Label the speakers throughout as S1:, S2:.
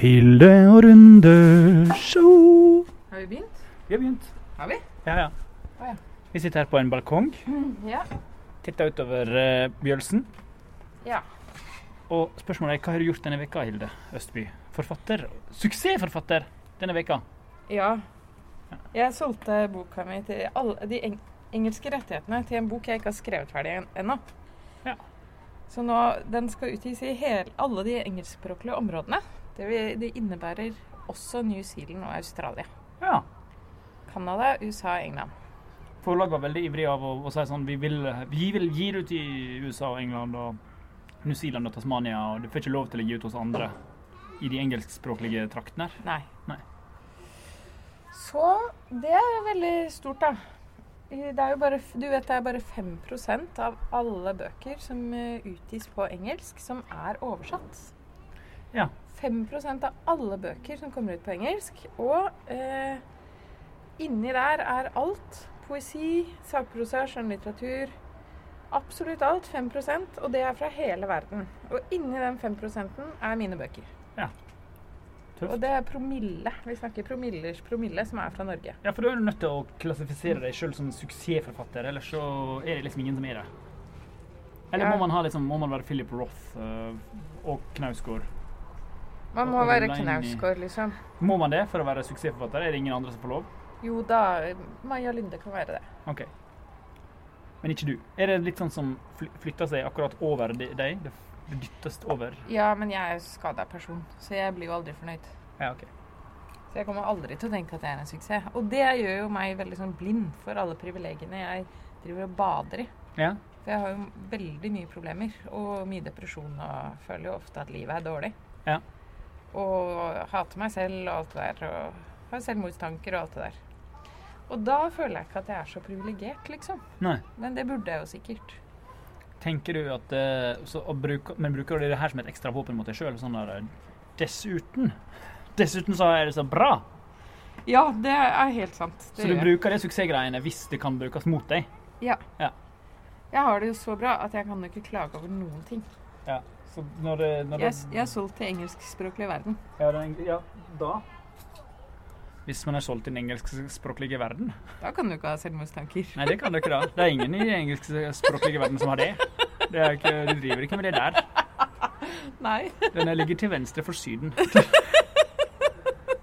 S1: Hilde og Runde show.
S2: Har vi begynt?
S1: Vi har begynt.
S2: Har vi?
S1: Ja, ja.
S2: Å, ja.
S1: Vi sitter her på en balkong,
S2: Ja.
S1: titter utover eh, Bjølsen.
S2: Ja.
S1: Og spørsmålet er hva har du gjort denne veka, Hilde Østby? Forfatter. Suksessforfatter denne veka.
S2: ja. Jeg solgte boka mi til alle de eng engelske rettighetene til en bok jeg ikke har skrevet ferdig en- ennå.
S1: Ja.
S2: Så nå, den skal utgis i hel, alle de engelskspråklige områdene. Det, vil, det innebærer også New Zealand og Australia.
S1: Ja.
S2: Canada, USA og England.
S1: Forlaget var veldig ivrig av å, å si sånn vi vil, vi vil gi det ut i USA og England og New Zealand og Tasmania, og du får ikke lov til å gi ut hos andre i de engelskspråklige traktene. her.
S2: Nei.
S1: Nei.
S2: Så det er jo veldig stort, da. I- Det er jo bare, f- du vet det er bare 5 av alle bøker som eh, utgis på engelsk, som er oversatt.
S1: Ja.
S2: 5 av alle bøker som kommer ut på engelsk. Og eh, inni der er alt. Poesi, sakprosa, skjønnlitteratur. Absolutt alt. 5 Og det er fra hele verden. Og inni den 5 er mine bøker.
S1: Tøft.
S2: Og det er promille. Vi snakker promillers promille, som er fra Norge.
S1: Ja, for da er du nødt til å klassifisere deg sjøl som suksessforfatter, ellers så er det liksom ingen som er det. Eller
S2: Ja.
S1: må man ha liksom, må man være Philip Roth øh, og Knausgård?
S2: Man må
S1: Og
S2: være
S1: rulle inn i-
S2: knausgård, liksom.
S1: Må man det for å være suksessforfatter? Er det ingen andre som får lov?
S2: Jo da, Maja Lunde kan være det.
S1: OK. Men ikke du. Er det litt sånn som fly- flytter seg akkurat over de- deg? Det f- det dyttes over?
S2: Ja, men jeg er jo skada person, så jeg blir jo aldri fornøyd.
S1: Ja, OK.
S2: Så jeg kommer aldri til å tenke at jeg er en suksess. Og det gjør jo meg veldig sånn blind for alle privilegiene jeg driver og bader i.
S1: Ja.
S2: For jeg har jo veldig mye problemer og mye depresjon og føler jo ofte at livet er dårlig.
S1: Ja.
S2: Og hater meg selv og alt det der. Og har selvmordstanker og alt det der. Og da føler jeg ikke at jeg er så privilegert, liksom.
S1: Nei.
S2: Men det burde jeg jo sikkert.
S1: Tenker du at øh, så, å bruke, Men bruker du det her som et ekstra våpen mot deg sjøl? Sånn der øh, Dessuten. Dessuten så er det så bra.
S2: Ja, det er helt sant.
S1: Så du bruker det suksessgreiene hvis det kan brukes mot deg?
S2: Jeg har det jo så bra at jeg kan jo ikke klage over noen ting.
S1: Ja. Så når det, når
S2: Jeg,
S1: det
S2: jeg er solgt til engelskspråklig verden.
S1: ja, den, ja, da Hvis man er solgt i den engelskspråklige verden?
S2: Da kan du ikke ha selvmordstanker.
S1: Nei, det kan du ikke, da. Det er ingen i den engelskspråklige verden som har det. det er ikke, du driver ikke med det der.
S2: Nei.
S1: Den ligger til venstre for Syden.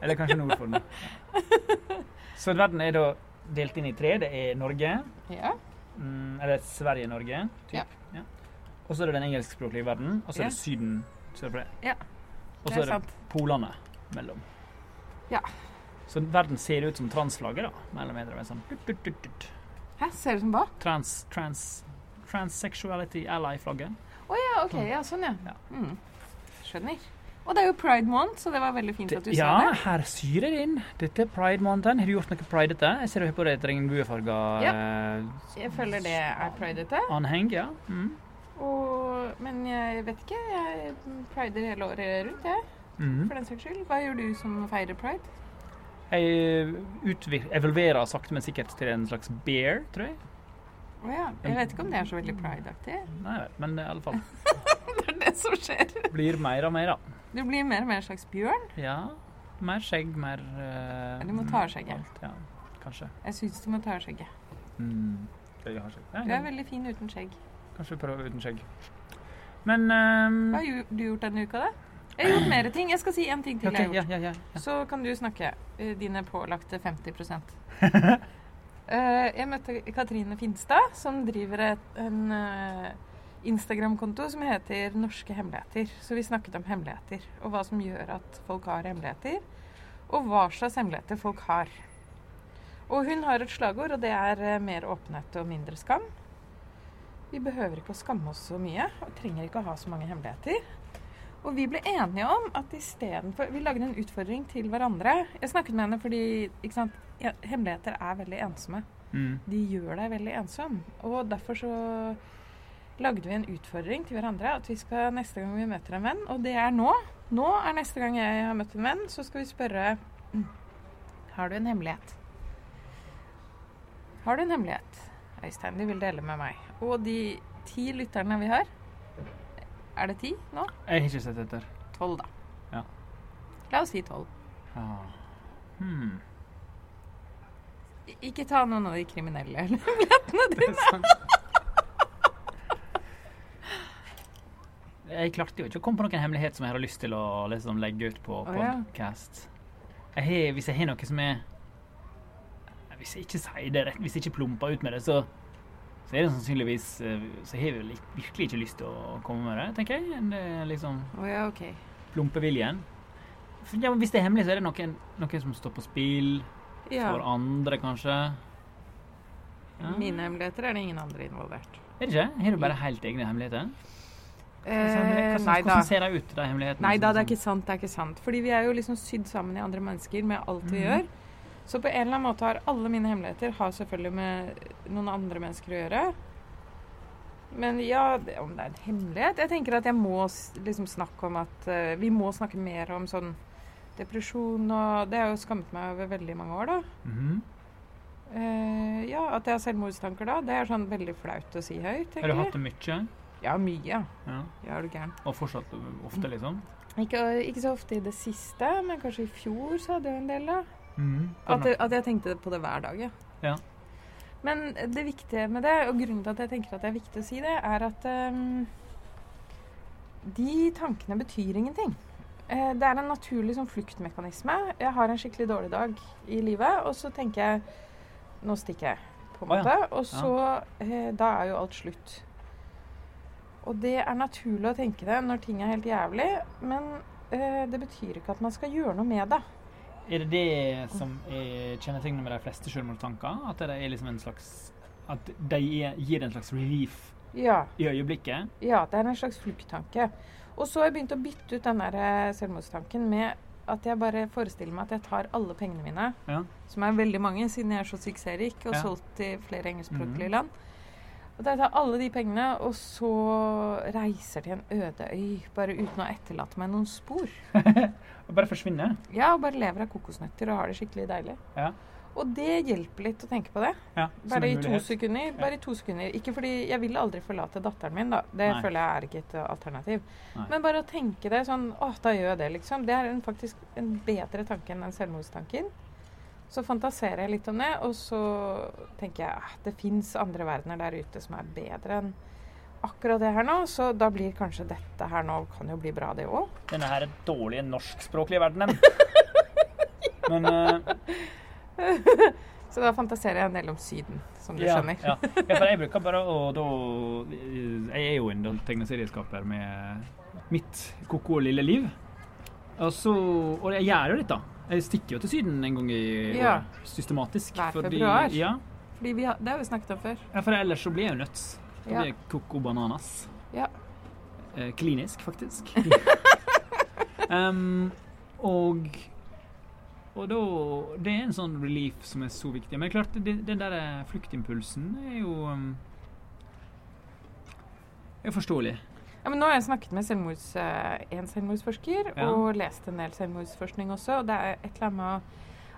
S1: Eller kanskje nord for den. Så verden er da delt inn i tre. Det er Norge,
S2: Ja.
S1: mm, eller Sverige-Norge.
S2: Ja.
S1: typ. Ja. Og så er det den engelskspråklige verden, og så er det
S2: Ja.
S1: Syden sør for det.
S2: Ja,
S1: Og
S2: det
S1: så
S2: er
S1: er det
S2: sant.
S1: polene mellom.
S2: Ja.
S1: Så verden ser ut som transflagget, da. Mer eller mindre. med Sånn. dut, dut, dut, dut.
S2: Hæ, ser du sånn som hva?
S1: Trans, trans, transsexuality ally-flagget.
S2: Å ja, ok. Ja, sånn, ja.
S1: Ja.
S2: Mm. Skjønner. Og det er jo pride month, så det var veldig fint at du sa
S1: Ja,
S2: det.
S1: her syrer det inn. Dette er pride måneden. Har du gjort noe pridete? Jeg ser du har på deg et regnbuefarga
S2: Ja.
S1: eh,
S2: Jeg føler det er pridete.
S1: anheng. Ja. Mm.
S2: Og, men jeg vet ikke. Jeg prider hele året rundt, jeg.
S1: Mhm.
S2: For den saks skyld. Hva gjør du som feirer pride?
S1: Jeg utvir- evolverer sakte, men sikkert til en slags bear, tror jeg.
S2: Å ja. Jeg vet ikke om det er så veldig prideaktig.
S1: Nei, jeg vet, men i alle fall.
S2: Det er det som skjer.
S1: Blir mer og mer, da.
S2: Du blir mer og mer en slags bjørn.
S1: Ja. Mer skjegg, mer eh,
S2: Du må ta av skjegget.
S1: alt, Ja, kanskje.
S2: Jeg syns du må ta av skjegget.
S1: Mm. Jeg har skjegg.
S2: Du er veldig fin uten skjegg.
S1: Kanskje vi prøver uten skjegg. Men ehm,
S2: Hva har jo- du gjort denne uka, da? Jeg har gjort mer ting. Jeg skal si én ting til.
S1: ok,
S2: jeg har gjort.
S1: ja, ja, ja, ja.
S2: Så kan du snakke eh, dine pålagte 50 Eh, Jeg møtte Katrine Finstad, som driver et, en eh, Instagram-konto som heter 'Norske hemmeligheter'. Så vi snakket om hemmeligheter, og hva som gjør at folk har hemmeligheter. Og hva slags hemmeligheter folk har. Og hun har et slagord, og det er eh, 'mer åpenhet og mindre skam'. Vi behøver ikke å skamme oss så mye, og trenger ikke å ha så mange hemmeligheter. Og vi ble enige om at istedenfor Vi lagde en utfordring til hverandre. Jeg snakket med henne fordi ikke sant, ja, hemmeligheter er veldig ensomme.
S1: Mm.
S2: De gjør deg veldig ensom. Og derfor så lagde vi en utfordring til hverandre at vi skal neste gang vi møter en venn, og det er nå Nå er neste gang jeg har møtt en venn, så skal vi spørre Har du en hemmelighet? Har du en hemmelighet, Øystein, du vil dele med meg? Og de ti lytterne vi har Er det ti nå?
S1: Jeg har ikke sett etter.
S2: tolv, da.
S1: Ja.
S2: La oss si tolv.
S1: Ja. Ah. Hmm.
S2: I- Ikke ta noen av de kriminelle hemmeligheten
S1: Det
S2: dine.
S1: er sant. Jeg klarte jo ikke å komme på noen hemmelighet som jeg hadde lyst til å liksom, legge ut på
S2: Å, ja.
S1: podcast. Jeg har, hvis jeg har noe som er Hvis jeg ikke sier det rett, hvis jeg ikke plumper ut med det, så, så er det sannsynligvis eh, Så har jeg vel ikke- virkelig ikke lyst til å komme med det, tenker jeg. Det er liksom
S2: Å ja, ok.
S1: plumpeviljen. For, ja, men hvis det er hemmelig, så er det noen, noen som står på spill.
S2: Ja.
S1: For andre, kanskje. Ja.
S2: Mine hemmeligheter er det ingen andre involvert.
S1: Er det ikke? Har du bare helt egne hemmeligheter?
S2: Eh,
S1: Hvordan,
S2: nei da.
S1: hvordan ser de ut, de hemmelighetene?
S2: Nei da, det er ikke sant. det er ikke sant. Fordi vi er jo liksom sydd sammen i andre mennesker med alt vi
S1: Mhm.
S2: gjør. Så på en eller annen måte har alle mine hemmeligheter har selvfølgelig med noen andre mennesker å gjøre. Men ja, det- om det er en hemmelighet Jeg tenker at jeg må s- liksom snakke om at eh, Vi må snakke mer om sånn depresjon og Det har jo skammet meg over veldig mange år, da.
S1: Mhm.
S2: Eh, ja, at jeg har selvmordstanker da, det er sånn veldig flaut å si høyt,
S1: Har du
S2: tenker
S1: hatt
S2: jeg.
S1: det mye?
S2: Ja, mye.
S1: Ja.
S2: Ja, er du gæren.
S1: Og fortsatt
S2: Mm.
S1: ofte, liksom?
S2: Ikke, ikke så ofte i det siste, men kanskje i fjor så hadde jeg en del, da.
S1: Mhm.
S2: At, det- at jeg tenkte på det hver dag, ja.
S1: Ja.
S2: Men det viktige med det, og grunnen til at jeg tenker at det er viktig å si det, er at ehm, de tankene betyr ingenting. Eh, Det er en naturlig sånn fluktmekanisme. Jeg har en skikkelig dårlig dag i livet, og så tenker jeg Nå stikker jeg, på en
S1: Å ja.
S2: måte. Og så eh, Da er jo alt slutt. Og det er naturlig å tenke det når ting er helt jævlig, men eh, det betyr ikke at man skal gjøre noe med det.
S1: Er det det som er kjennetegnet med de fleste selvmordstanker? At det er liksom en slags At de er- gir en slags relief
S2: Ja.
S1: i øyeblikket?
S2: Ja, det er en slags flukttanke. Og så har jeg begynt å bytte ut den der eh, selvmordstanken med at jeg bare forestiller meg at jeg tar alle pengene mine,
S1: Ja.
S2: som er veldig mange siden jeg er så suksessrik og
S1: Ja.
S2: solgt til flere engelskspråklige
S1: Mhm.
S2: land. At jeg tar alle de pengene og så reiser til en øde øy, bare uten å etterlate meg noen spor.
S1: Og bare forsvinner?
S2: Ja, og bare lever av kokosnøtter og har det skikkelig deilig.
S1: Ja.
S2: Og det hjelper litt å tenke på det.
S1: Ja, som
S2: Bare
S1: en
S2: i to
S1: mulighet.
S2: sekunder. Bare i to sekunder. Ikke fordi jeg vil aldri forlate datteren min, da. Det
S1: Nei.
S2: føler jeg er ikke et uh, alternativ.
S1: Nei.
S2: Men bare å tenke det sånn Å, da gjør jeg det, liksom. Det er en, faktisk en bedre tanke enn den selvmordstanken. Så fantaserer jeg litt om det, og så tenker jeg at det fins andre verdener der ute som er bedre enn akkurat det her nå, så da blir kanskje dette her nå Kan jo bli bra, det òg.
S1: Denne her dårlige norskspråklige verdenen. Men eh,
S2: Så da fantaserer jeg en del om Syden, som du
S1: ja,
S2: skjønner.
S1: ja. ja, for jeg bruker bare å da Jeg er jo en del tegneserieskaper med mitt koko lille liv. Og så Og jeg gjør jo dette. Jeg stikker jo til Syden en gang i
S2: Ja.
S1: året. Systematisk.
S2: Hver februar.
S1: Ja,
S2: Fordi vi har, det har vi snakket om før.
S1: ja, for ellers så blir jeg jo nødt. Da
S2: Ja.
S1: blir jeg koko bananas.
S2: Ja.
S1: Eh, klinisk, faktisk. Em, og og da Det er en sånn relief som er så viktig. Men klart, det, den der eh, fluktimpulsen er jo em, er forståelig.
S2: Ja, men nå har jeg snakket med selvmords, eh, en selvmordsforsker
S1: Ja.
S2: og lest en del selvmordsforskning også. Og det er et eller annet med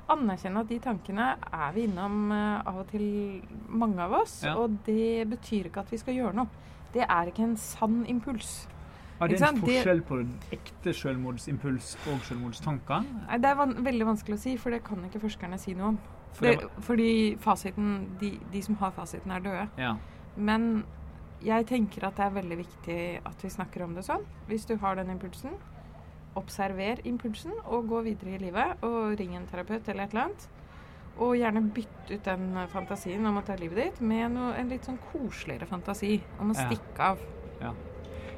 S2: å anerkjenne at de tankene er vi innom eh, av og til mange av oss.
S1: Ja.
S2: Og det betyr ikke at vi skal gjøre noe. Det er ikke en sann impuls.
S1: Ja, det
S2: Ikke
S1: er en
S2: sant? Det-
S1: forskjell på ekte selvmordsimpuls og selvmordstanker.
S2: Nei, Det er van veldig vanskelig å si, for det kan ikke forskerne si noe om.
S1: For
S2: Det,
S1: det, var-
S2: fordi fasiten, de, de som har fasiten, er døde.
S1: ja.
S2: Men jeg tenker at det er veldig viktig at vi snakker om det sånn. Hvis du har den impulsen, observer impulsen og gå videre i livet. Og ring en terapeut eller et eller annet. Og gjerne bytt ut den eh, fantasien om å ta livet ditt med noe, en litt sånn koseligere fantasi om å
S1: Ja.
S2: stikke av.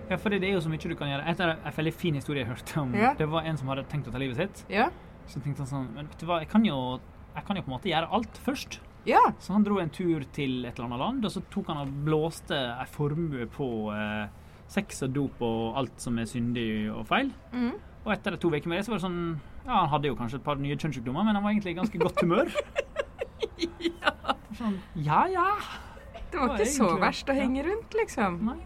S1: ja, for det er jo så mye du kan gjøre. Et av En veldig fin historie jeg hørte om
S2: Ja.
S1: Det var en som hadde tenkt å ta livet sitt.
S2: Ja.
S1: Så tenkte han sånn Men vet du hva, jeg kan jo, jeg kan jo på en måte gjøre alt først.
S2: Ja.
S1: Så han dro en tur til et eller annet land, og så tok han og blåste ei formue på eh, sex og dop og alt som er syndig og feil.
S2: Mm.
S1: Og etter to uker med det, så var det sånn Ja, han hadde jo kanskje et par nye kjønnssykdommer, men han var egentlig i ganske godt humør. Sånn, ja ja.
S2: Det var
S1: Det var
S2: ikke så
S1: egentlig-
S2: verst å
S1: ja.
S2: henge rundt, liksom.
S1: Nei.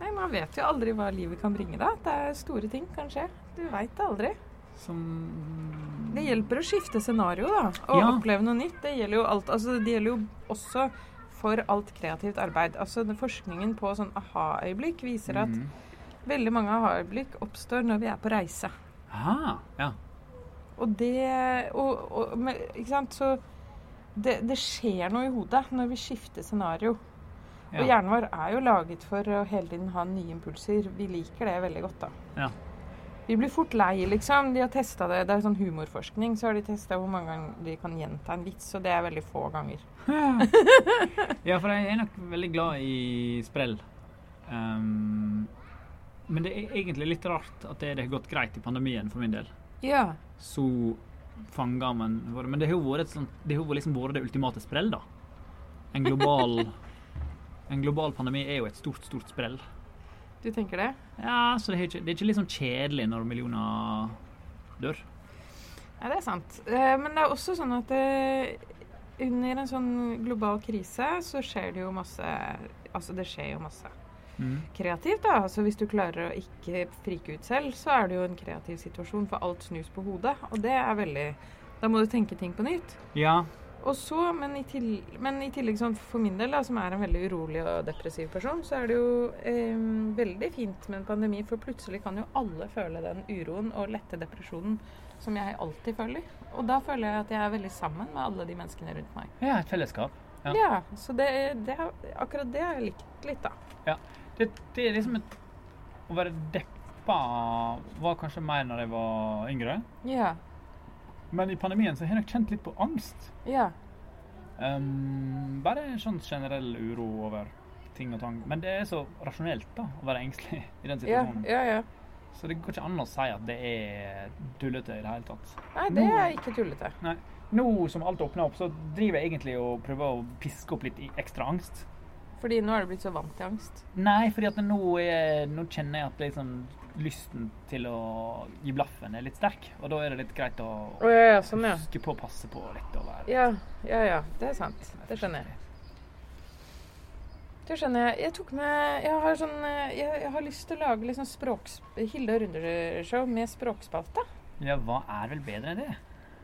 S2: Nei, man vet jo aldri hva livet kan bringe, da. Det er store ting, kanskje. Du veit det aldri.
S1: Som
S2: Det hjelper å skifte scenario da, og
S1: Ja.
S2: oppleve noe nytt. Det gjelder jo alt, altså det gjelder jo også for alt kreativt arbeid. Altså den Forskningen på sånn aha-øyeblikk viser at
S1: Mhm.
S2: veldig mange aha-øyeblikk oppstår når vi er på reise.
S1: Aha, Ah, ja.
S2: Og det og, og, men, Ikke sant? Så det, det skjer noe i hodet når vi skifter scenario. Og
S1: Ja.
S2: hjernen vår er jo laget for å hele tiden ha nye impulser. Vi liker det veldig godt, da.
S1: Ja.
S2: Vi blir fort lei, liksom. De har testet det. Det er sånn humorforskning. Så har de testa hvor mange ganger de kan gjenta en vits, og det er veldig få ganger.
S1: ja, for jeg er nok veldig glad i sprell. Ehm, men det er egentlig litt rart at det det har gått greit i pandemien for min del.
S2: Ja.
S1: så fanger man våre. Men det har jo vært, et sånt, det, har jo liksom vært det ultimate sprell, da. En global, en global pandemi er jo et stort, stort sprell.
S2: Du tenker det?
S1: Ja, så det er ikke, det er ikke liksom kjedelig når millioner dør.
S2: Ja, det er sant. Eh, Men det er også sånn at eh, under en sånn global krise så skjer det jo masse Altså, det skjer jo masse
S1: Mm.
S2: kreativt, da. Altså, hvis du klarer å ikke frike ut selv, så er det jo en kreativ situasjon, for alt snus på hodet. Og det er veldig Da må du tenke ting på nytt.
S1: Ja.
S2: Og så, men i, tillegg, men i tillegg sånn for min del, da, som er en veldig urolig og depressiv person, så er det jo eh, veldig fint med en pandemi, for plutselig kan jo alle føle den uroen og lette depresjonen som jeg alltid føler. Og da føler jeg at jeg er veldig sammen med alle de menneskene rundt meg.
S1: ja, et fellesskap. Ja.
S2: Ja, Så det, det, er- akkurat det har jeg likt litt, da.
S1: Det, det er liksom et Å være deppa var kanskje mer når jeg var yngre.
S2: Ja.
S1: Men i pandemien så har jeg nok kjent litt på angst.
S2: Ja.
S1: Um, bare en sånn generell uro over ting og tang. Men det er så rasjonelt da, å være engstelig i den
S2: Ja,
S1: situasjonen.
S2: ja, ja.
S1: Så det går ikke an å si at det er tullete i det hele tatt.
S2: Nei, det er ikke tullete.
S1: Nå som alt åpner opp, så driver jeg egentlig og prøver å piske opp litt i- ekstra angst.
S2: Fordi nå er du blitt så vant til angst.
S1: Nei, fordi at nå, er, nå kjenner jeg at liksom lysten til å gi blaffen er litt sterk. Og da er det litt greit å
S2: ja, sånn, ja,
S1: huske på å passe på litt og være
S2: Ja, ja, ja. Det er sant. Det skjønner jeg. Det skjønner jeg. Jeg tok med Jeg har, sånn, eh, jeg, jeg har lyst til å lage liksom språks... Hilde og Runder-show med språkspalte.
S1: Ja, hva er vel bedre enn det?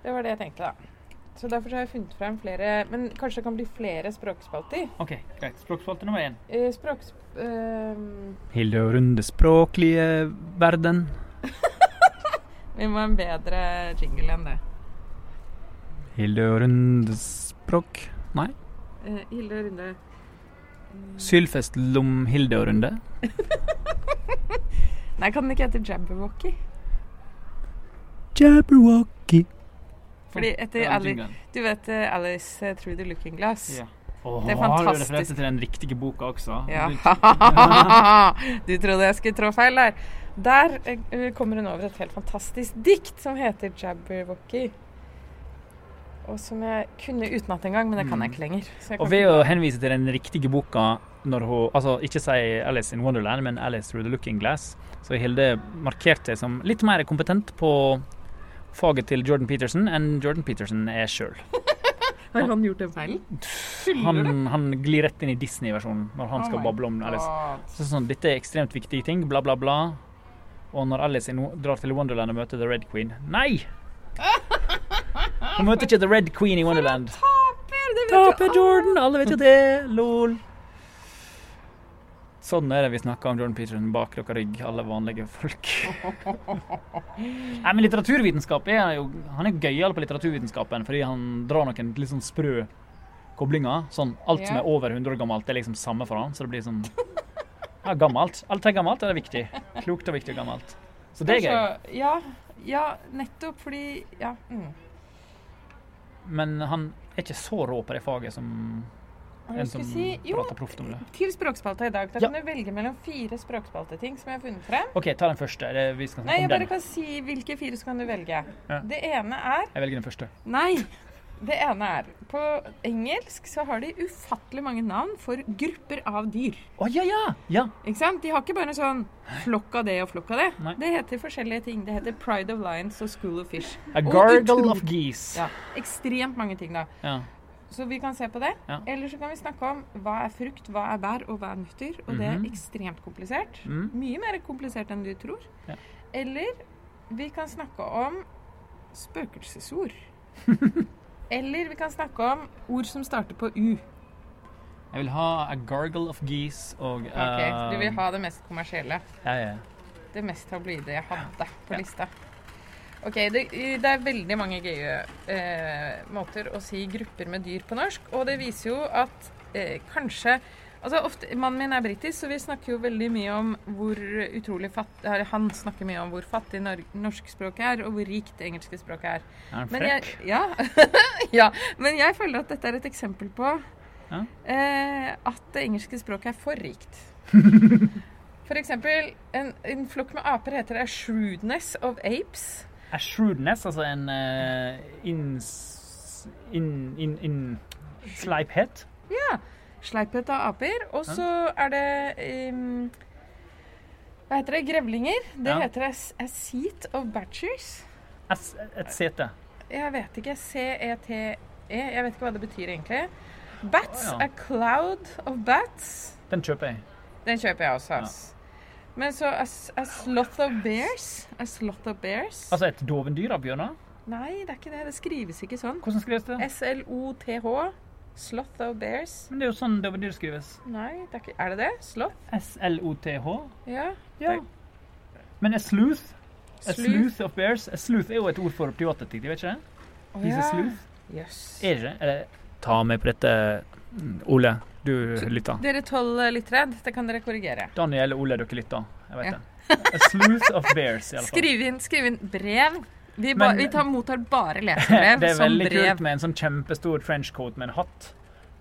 S2: Det var det jeg tenkte, da. Så derfor så har jeg funnet frem flere Men kanskje det kan bli flere språkspalter.
S1: OK, greit. Språkspalte nummer én.
S2: Eh, Språks... eh,
S1: Hilde og Runde språklige verden.
S2: vi må ha en bedre jingle enn det.
S1: Hilde og Runde språk.
S2: Eh, Hilde og Runde
S1: Sylfest lom Hilde og Runde.
S2: Nei, kan den ikke hete Jabberwocky?
S1: Jabberwocky.
S2: Fordi etter
S1: Ja,
S2: Ali-
S1: jinglen.
S2: Du vet eh, Alice eh, Through the Looking Glass?
S1: Ja. Åh,
S2: Det
S1: Har
S2: er
S1: du
S2: fantastisk.
S1: referert til den riktige boka også?
S2: Ja.
S1: Du-
S2: Du trodde jeg skulle trå feil der. Der eh, kommer hun over et helt fantastisk dikt som heter 'Jabberwocky'. Og som jeg kunne utenat en gang, men det kan jeg ikke lenger. Så jeg
S1: Mm. Og
S2: kan
S1: ved
S2: ikke-
S1: å henvise til den riktige boka når hun Altså, ikke si Alice in Wonderland, men Alice Through the Looking Glass, så har Hilde markert seg som litt mer kompetent på faget til Jordan Peterson enn Jordan Peterson er sjøl.
S2: Har han gjort den feilen?
S1: Han, han glir rett inn i Disney-versjonen når han
S2: Oh
S1: skal
S2: my
S1: bable om Alice.
S2: God.
S1: Så sånn, dette er ekstremt viktige ting, bla, bla, bla. Og når Alice inn- drar til Wonderland og møter The Red Queen Nei! Hun møter ikke The Red Queen i Wonderland.
S2: Taper! Det vet
S1: Taper
S2: du
S1: Jordan! Alle vet jo det! Lol. Sånn er det vi snakker om Jordan Peterson bak deres rygg, alle vanlige folk. Nei, men litteraturvitenskap er jo Han er gøyal på litteraturvitenskapen fordi han drar noen litt sånn sprø koblinger. Sånn alt som
S2: Ja.
S1: er over 100 år gammelt, det er liksom samme for han, så det blir sånn Ja, gammelt. Alt er gammelt, det er viktig. Klokt og viktig og gammelt. Så det er gøy.
S2: Kanskje- altså, Ja, ja, nettopp fordi Ja. Mm.
S1: Men han er ikke så rå på det faget som
S2: Hva
S1: en
S2: skulle
S1: som
S2: jeg si? Jo,
S1: prater proft om det.
S2: til spalta i dag. Da
S1: Ja.
S2: kan du velge mellom fire språkspalteting som jeg har funnet frem.
S1: OK, ta den første. Det, vi skal snakke
S2: Nei, jeg
S1: om den.
S2: bare kan si hvilke fire så kan du velge.
S1: Ja.
S2: Det ene er
S1: Jeg velger den første.
S2: Nei! Det ene er På engelsk så har de ufattelig mange navn for grupper av dyr.
S1: Å, ja, ja! Ja.
S2: Ikke sant? De har ikke bare sånn flokk av det og flokk av det.
S1: Nei.
S2: Det heter forskjellige ting. Det heter Pride of Lions og School of Fish.
S1: A
S2: Og
S1: gargle
S2: utro-
S1: of geese. Ja.
S2: Ja, Ekstremt mange ting, da. Så vi kan se på det.
S1: Ja.
S2: Eller så kan vi snakke om hva er frukt, hva er bær, og hva er nøtter. Og det
S1: Mhm.
S2: er ekstremt komplisert.
S1: Mm.
S2: Mye mer komplisert enn du tror.
S1: Ja.
S2: Eller vi kan snakke om spøkelsesord. Eller vi kan snakke om ord som starter på U.
S1: Jeg vil ha a gargle of geese og
S2: Ok,
S1: eh,
S2: Du vil ha det mest kommersielle.
S1: Ja, ja.
S2: Det mest tabloide jeg hadde på
S1: Ja.
S2: lista. Ok, det, det er veldig mange gøye eh, måter å si grupper med dyr på norsk, og det viser jo at eh, kanskje Altså, ofte, Mannen min er britisk, så vi snakker jo veldig mye om hvor utrolig fatt, eller Han snakker mye om hvor fattig nor norskspråket er, og hvor rikt det engelske språket er.
S1: Er han
S2: Men jeg,
S1: frekk?
S2: ja, ja, men jeg føler at dette er et eksempel på
S1: Ja.
S2: eh, at det engelske språket er for rikt. For eksempel, en, en flokk med aper heter A shrewdness of apes.
S1: Er shrewdness, altså en eh, inns... inn... inn... inn... Sleiphet?
S2: Ja. Sleiphet av aper. Og så er det em, Hva heter det? Grevlinger. Det
S1: Ja.
S2: heter a, s- a seat of badgers.
S1: Et, et sete.
S2: Jeg vet ikke. C-E-T-E. E. Jeg vet ikke hva det betyr egentlig. Bats.
S1: Å, ja.
S2: A cloud of bats.
S1: Den kjøper jeg.
S2: Den kjøper jeg også. Ass. Men så a, s- a sloth of bears. A sloth of bears.
S1: Altså et dovendyr av bjørner?
S2: Nei, det er ikke det. Det skrives ikke sånn.
S1: Hvordan skrives det?
S2: S-L-O-T-H. Sloth of bears.
S1: Men det er jo sånn dovendyr skrives.
S2: Nei, det er, ikke, er det det? Sloth?
S1: S-L-O-T-H?
S2: Ja.
S1: Ja. Men a sleuth? A
S2: Sleuth.
S1: sleuth of bears? A sleuth er jo et ord for privatdetektiv, vet ikke det?
S2: Å,
S1: He's a
S2: ja.
S1: sleuth.
S2: Yes.
S1: Er det ikke? Eller, ta meg på dette, mm, Ole. Du lytter.
S2: Dere tolv eh, lyttere, dette kan dere korrigere.
S1: Daniel og Ole, dere lytter. Jeg vet
S2: Ja.
S1: det. A sleuth of bears, i alle fall.
S2: Skriv inn, skriv inn brev. Vi, ba,
S1: Men-
S2: vi tar, mottar bare
S1: Det
S2: leserbrev
S1: er
S2: som
S1: veldig
S2: brev.
S1: kult med en sånn kjempestor trenchcoat med en hatt.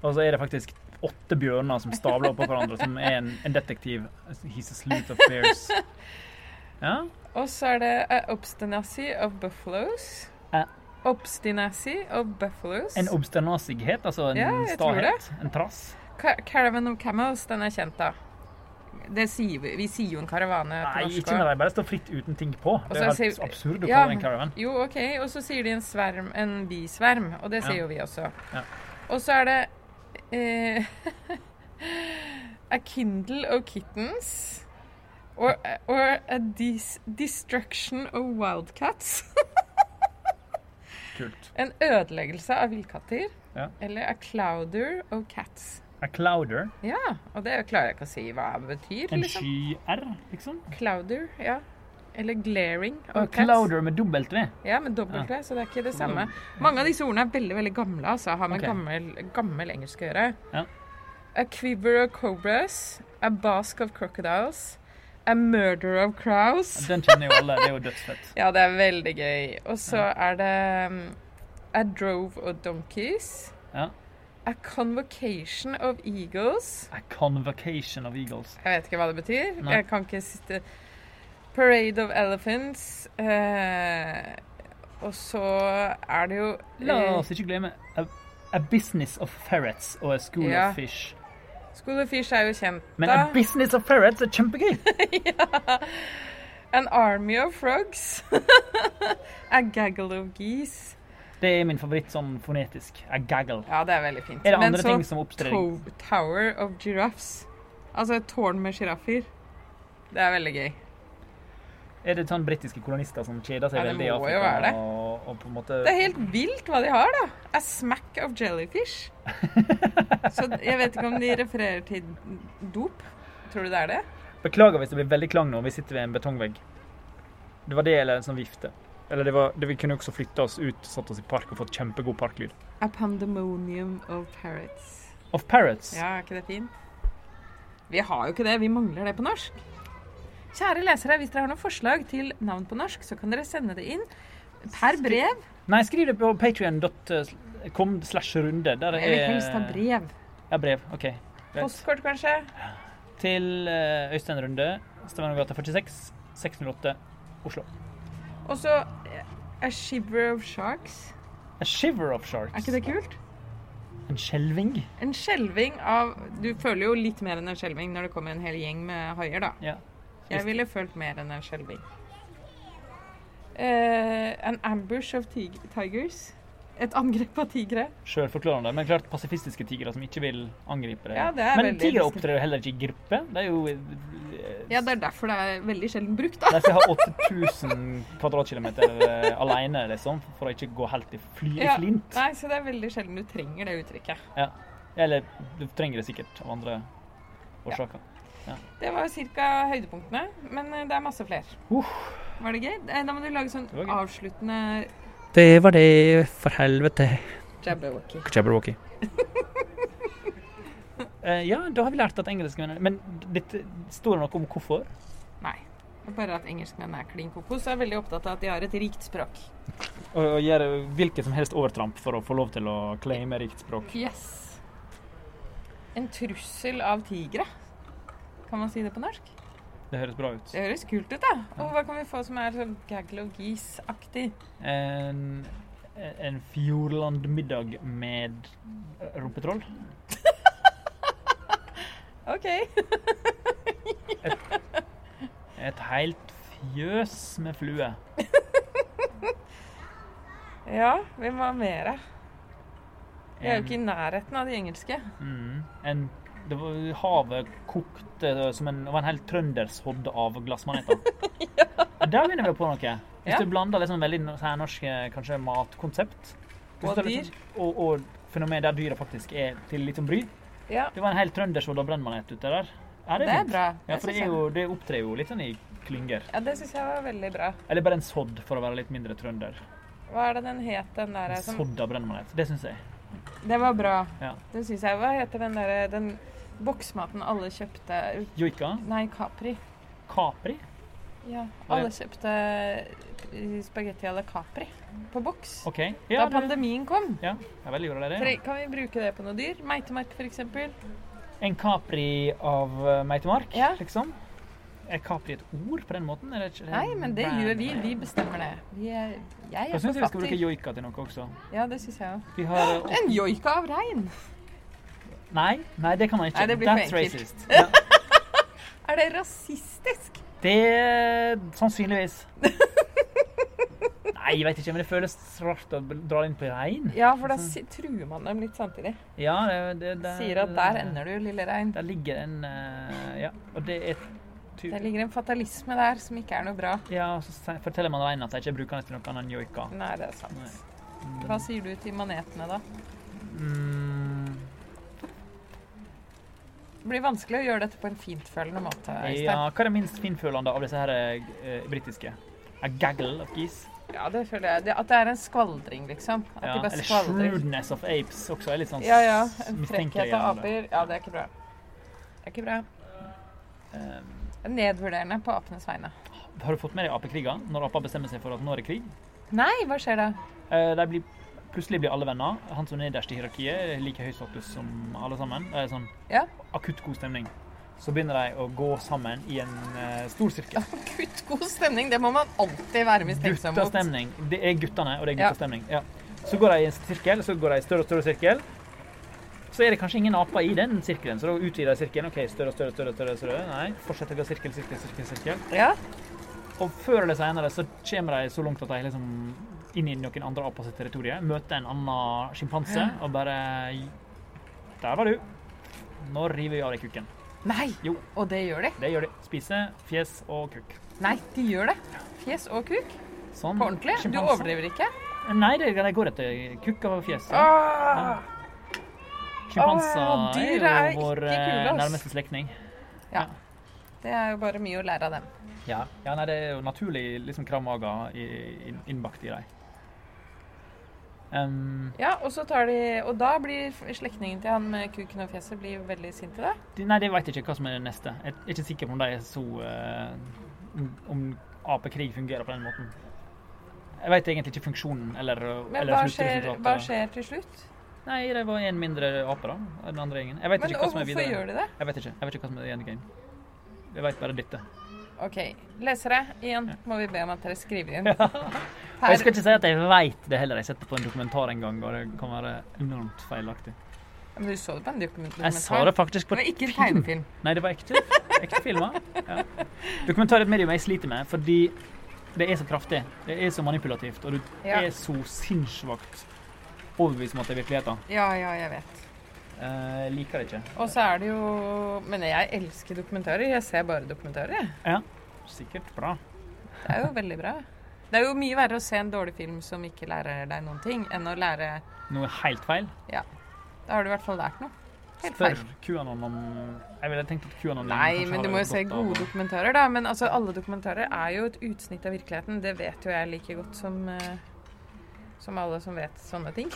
S1: Og så er det faktisk åtte bjørner som stavler oppå hverandre, som er en, en detektiv. He's a sleuth of bears. Ja.
S2: Og så er det A Obstinacy of Buffaloes.
S1: A-
S2: Obstinacy of Buffaloes.
S1: En obstinasighet, altså en
S2: Ja, jeg tror
S1: stahet. En trass.
S2: Ca- Caravan of Camels, den er kjent, da. Det sier vi, vi sier jo en karavane på
S1: Nei,
S2: norsk.
S1: ikke når
S2: også.
S1: de bare står fritt uten ting på. Det er
S2: Og så
S1: helt
S2: sier-
S1: absurd å
S2: Altså, Ja,
S1: kalle det en caravan.
S2: Jo, OK. Og så sier de en sverm, en bisverm, og det sier
S1: Ja.
S2: jo vi også.
S1: Ja.
S2: Og så er det eh, A kindle of kittens. Or, or a dis destruction of wildcats.
S1: Kult.
S2: En ødeleggelse av villkatter.
S1: Ja.
S2: Eller a clouder of cats.
S1: A clouder.
S2: Ja, og det klarer jeg ikke å si hva det betyr.
S1: En
S2: Liksom.
S1: skyer, liksom.
S2: Clouder, ja. Eller glaring of
S1: Og
S2: cats.
S1: clouder med dobbelt V.
S2: Ja, med dobbelt V, så det er ikke det samme. Mange av disse ordene er veldig veldig gamle. altså. Har med
S1: Ok.
S2: gammel, gammel engelsk å gjøre.
S1: Ja.
S2: A quiver of cobras. A bask of crocodiles. A murder of crows.
S1: Den kjenner jo alle. Det er jo dødsfett.
S2: Ja, det er veldig gøy. Og så er det um, A drove of donkeys.
S1: Ja.
S2: A convocation of eagles.
S1: A convocation of eagles.
S2: Jeg vet ikke hva det betyr.
S1: Nei.
S2: Jeg kan ikke sitte Parade of elephants. eh, og så er det jo
S1: La
S2: eh,
S1: oss ikke glemme a, a business of ferrets og a school
S2: Ja.
S1: of fish.
S2: School of Fish er jo kjent,
S1: Men
S2: da.
S1: a business of ferrets er kjempegøy!
S2: An army of frogs. A gaggle of geese.
S1: Det er min favoritt sånn fonetisk. A gaggle.
S2: Ja, det er veldig fint.
S1: Er det
S2: Men
S1: andre
S2: så
S1: ting som opptrer?
S2: to Tower of giraffes. Altså et tårn med sjiraffer. Det er veldig gøy.
S1: Er det sånn britiske kolonister som kjeder seg
S2: Ja, det
S1: veldig i
S2: må jo
S1: Afrika?
S2: være det.
S1: Og, og på en måte
S2: Det er helt vilt hva de har, da. A smack of jellyfish. Så jeg vet ikke om de refererer til dop. Tror du det er det?
S1: Beklager hvis det blir veldig klang nå. Vi sitter ved en betongvegg. Det var det eller en sånn vifte. Eller det var, det, vi kunne jo også flytta oss ut, satt oss i park og fått kjempegod parklyd.
S2: A pandemonium of parrots.
S1: Of parrots.
S2: Ja, er ikke det fint? Vi har jo ikke det, vi mangler det på norsk. Kjære lesere, hvis dere har noen forslag til navn på norsk, så kan dere sende det inn per brev.
S1: Nei, skriv det på patrion.com slash runde. Der
S2: Jeg vil helst ha
S1: er
S2: brev.
S1: Ja, brev. OK. Greit.
S2: Postkort, kanskje?
S1: Til eh, Øystein Runde, Stavangergata 46, 608, Oslo.
S2: Og så eh, A shiver of sharks.
S1: A shiver of sharks.
S2: Er ikke det kult?
S1: En skjelving.
S2: En skjelving av Du føler jo litt mer enn en skjelving når det kommer en hel gjeng med haier, da.
S1: Ja.
S2: Jeg ville følt mer enn en skjelving. Eh, an ambush of tig tigers. Et angrep av tigre.
S1: Sjølforklarende. Men klart pasifistiske tigre som ikke vil angripe det.
S2: Ja, det er
S1: Men
S2: veldig
S1: tigre
S2: interessant.
S1: opptrer jo heller ikke i gruppe. Det er jo eh,
S2: Ja, det er derfor det er veldig sjelden brukt, da.
S1: De skal ha 8000 kvadratkilometer eh, alene, liksom, for å ikke gå helt i fly i
S2: Ja.
S1: flint.
S2: Nei, så det er veldig sjelden du trenger det uttrykket.
S1: Ja. Eller du trenger det sikkert av andre årsaker.
S2: Det var ca. høydepunktene, men eh, det er masse flere.
S1: Uff.
S2: Var det gøy? Eh, Da må du lage sånn
S1: Det var gøy.
S2: avsluttende
S3: Det var det, for helvete.
S2: jabberwocky.
S3: Jabberwocky.
S1: Eh, ja, da har vi lært at engelskmenn er- Men dette står det noe om hvorfor?
S2: Nei. Det er bare at engelskmenn er klin kokos og er veldig opptatt av at de har et rikt språk.
S1: Å, å gjøre hvilket som helst overtramp for å få lov til å claime rikt språk.
S2: Yes. En trussel av tigre. Kan man si det på norsk?
S1: Det høres bra ut.
S2: Det høres kult ut, da. Og hva kan vi få som er sånn gaggle of geese-aktig?
S1: En, en Fjordland-middag med rumpetroll?
S2: OK.
S1: Et helt fjøs med flue.
S2: Ja, vi må ha mer. Vi er jo
S1: En-
S2: ikke i nærheten av de engelske.
S1: Mm. En, det var, havet kokte eh, som en, det var en hel trøndershodd av glassmaneter. Der begynner vi på noe. Hvis
S2: Ja.
S1: du blander liksom veldig no- særnorske eh, kanskje matkonsept
S2: Og
S1: Hvis det er litt sånn- og, og fenomen der dyra faktisk er til litt som bry.
S2: Ja,
S1: Det var en hel trøndershodd av brennmanet ute der. Ja,
S2: det er
S1: fint.
S2: bra.
S1: Ja, for
S2: synes
S1: det, er
S2: jeg.
S1: jo, det opptrer jo litt sånn i klynger.
S2: Ja, det syns jeg var veldig bra.
S1: Eller bare en sodd, for å være litt mindre trønder.
S2: Hva er det den het, den
S1: En
S2: derre som
S1: sodd av brennmanet. Det syns jeg.
S2: Det var bra.
S1: Sånn. Ja.
S2: Den syns jeg Hva heter den derre Den boksmaten alle kjøpte
S1: Joika.
S2: Nei, Capri.
S1: Capri.
S2: Ja,
S1: Hva er
S2: alle kjøpte eh, spagetti à la Capri på boks.
S1: OK. Ja,
S2: da pandemien kom.
S1: det er veldig bra, det.
S2: Tre, kan vi bruke det på noe dyr? Meitemark, f.eks.
S1: En Capri av eh, meitemark,
S2: Ja.
S1: liksom? Er Capri et ord på den måten? Er det ikke-
S2: Nei, men det
S1: Nei.
S2: gjør vi. Vi bestemmer det. Vi er, jeg
S1: Jeg syns
S2: er
S1: vi skal bruke
S2: forfatter.
S1: joika til noe også.
S2: Ja, det syns jeg òg.
S1: Vi har eh, opp-
S2: En joika av rein!
S1: Nei, nei, det kan man ikke.
S2: Nei, det blir for
S1: That's
S2: enkelt.
S1: racist. Ja.
S2: Er det rasistisk?
S1: Det er sannsynligvis. Nei, jeg vet ikke, men det føles rart å dra inn på rein.
S2: Ja, for da si, truer man dem litt samtidig.
S1: Ja, det, Mm. det, det,
S2: Sier at der ender du, lille rein.
S1: Der ligger en eh, Ja, og det er ty-
S2: Det ligger en fatalisme der som ikke er noe bra.
S1: Ja, og så se- forteller man reinen at de ikke bruker den til noe annet enn joika.
S2: Nei, det er sant.
S1: Mm.
S2: Hva sier du til manetene, da?
S1: Mm.
S2: Det blir vanskelig å gjøre dette på en fintfølende måte. Øystein.
S1: Ja, hva er det minst finfølende av disse her eh, britiske? A gaggle of geese?
S2: Ja, det føler jeg. Det, at det er en skvaldring, liksom. At
S1: Ja,
S2: de bare
S1: eller
S2: skvaldrer.
S1: shrewdness of apes også er litt sånn
S2: Ja, ja.
S1: s-
S2: En
S1: mistenkelig
S2: frekkhet av
S1: gjerne.
S2: aper. Ja, det er ikke bra. Det er ikke bra.
S1: Eh,
S2: Det er Nedvurderende på apenes vegne.
S1: har du fått med deg apekriger? Når aper bestemmer seg for at nå er det krig?
S2: Nei, hva skjer da?
S1: Eh, de blir, plutselig blir alle venner. Han som er nederst i hierarkiet, er like høy status som alle sammen. Det er sånn
S2: Ja.
S1: akutt god stemning. Så begynner de å gå sammen i en eh, stor sirkel.
S2: Kutt god stemning, det må man alltid være mistenksom mot.
S1: Guttastemning. Det er guttene, og det er
S2: Ja.
S1: guttastemning. Ja. Så går de i en sirkel, så går de i større og større sirkel. Så er det kanskje ingen aper i den sirkelen, så da utvider de sirkelen. OK, større og større, større, større, større. Nei, fortsetter å gå sirkel, sirkel, sirkel, sirkel.
S2: Ja,
S1: Og før eller senere så kommer de så langt at de liksom inn i noen andre aper sitt territorium, møter en annen sjimpanse og bare Der var du. Nå river vi av deg kukken.
S2: Nei!
S1: Jo.
S2: Og det gjør de.
S1: Det gjør de. Spise, fjes og kukk.
S2: Nei, de gjør det. Fjes og kuk.
S1: Sånn.
S2: På ordentlig. Du
S1: sjimpanse.
S2: overdriver Ah, ikke.
S1: Nei, det, de går etter kukk og fjes. ja.
S2: Åh! Åh,
S1: Sjimpanser
S2: dyr
S1: er
S2: ah, er
S1: jo vår
S2: ikke kule,
S1: eh,
S2: ass.
S1: nærmeste slektning.
S2: Det er jo bare mye å lære av dem.
S1: Ja. nei, det er jo naturlig liksom kramaga i- inn- innbakt i dem. Um,
S2: Ja, og så tar de Og da blir slektningen til han med kuken og fjeset blir jo veldig sinte, da.
S1: de- nei, de vet ikke hva som er det neste. Jeg er ikke sikker på om de er så eh, om- Om apekrig fungerer på den måten. Jeg vet egentlig ikke funksjonen eller,
S2: Men
S1: eller
S2: hva skjer,
S1: sluttresultatet.
S2: hva skjer til slutt?
S1: Nei, det var en mindre ape, da. av Den andre gjengen. Jeg vet
S2: Men
S1: ikke hva
S2: og
S1: som er
S2: hvorfor
S1: videre.
S2: gjør de det?
S1: Jeg vet ikke. Jeg vet ikke hva som er igjen i game. Jeg vet bare dette.
S2: OK, lesere. Igjen må vi be om at dere skriver inn.
S1: Og Jeg
S2: Her,
S1: skal ikke si at jeg veit det heller. Jeg har sett det på en dokumentar en gang, og det kan være enormt feilaktig.
S2: men du så det på en dokumentar?
S1: Jeg sa det faktisk på
S2: Det var ikke en tegnefilm.
S1: Nei, det var ekte, ekte filmer. Ja. Dokumentar er et medium jeg sliter med, fordi det er så kraftig. Det er så manipulativt, og du
S2: Ja.
S1: er så sinnssvakt overbevist om at det er virkeligheten.
S2: ja, ja, jeg vet.
S1: Eh, Jeg liker det ikke.
S2: Og så er det jo Men jeg elsker dokumentarer. Jeg ser bare dokumentarer, jeg.
S1: Sikkert bra.
S2: Det er jo veldig bra. Det er jo mye verre å se en dårlig film som ikke lærer deg noen ting, enn å lære
S1: Noe helt feil.
S2: Da har du i hvert fall lært noe. Helt
S1: Spør
S2: feil.
S1: QAnon om Jeg ville tenkt at QAnon
S2: Nei,
S1: kanskje
S2: men
S1: har
S2: du må jo se
S1: godt av
S2: gode
S1: å-
S2: dokumentarer, da. Men altså, alle dokumentarer er jo et utsnitt av virkeligheten. Det vet jo jeg like godt som, eh, som alle som vet sånne ting.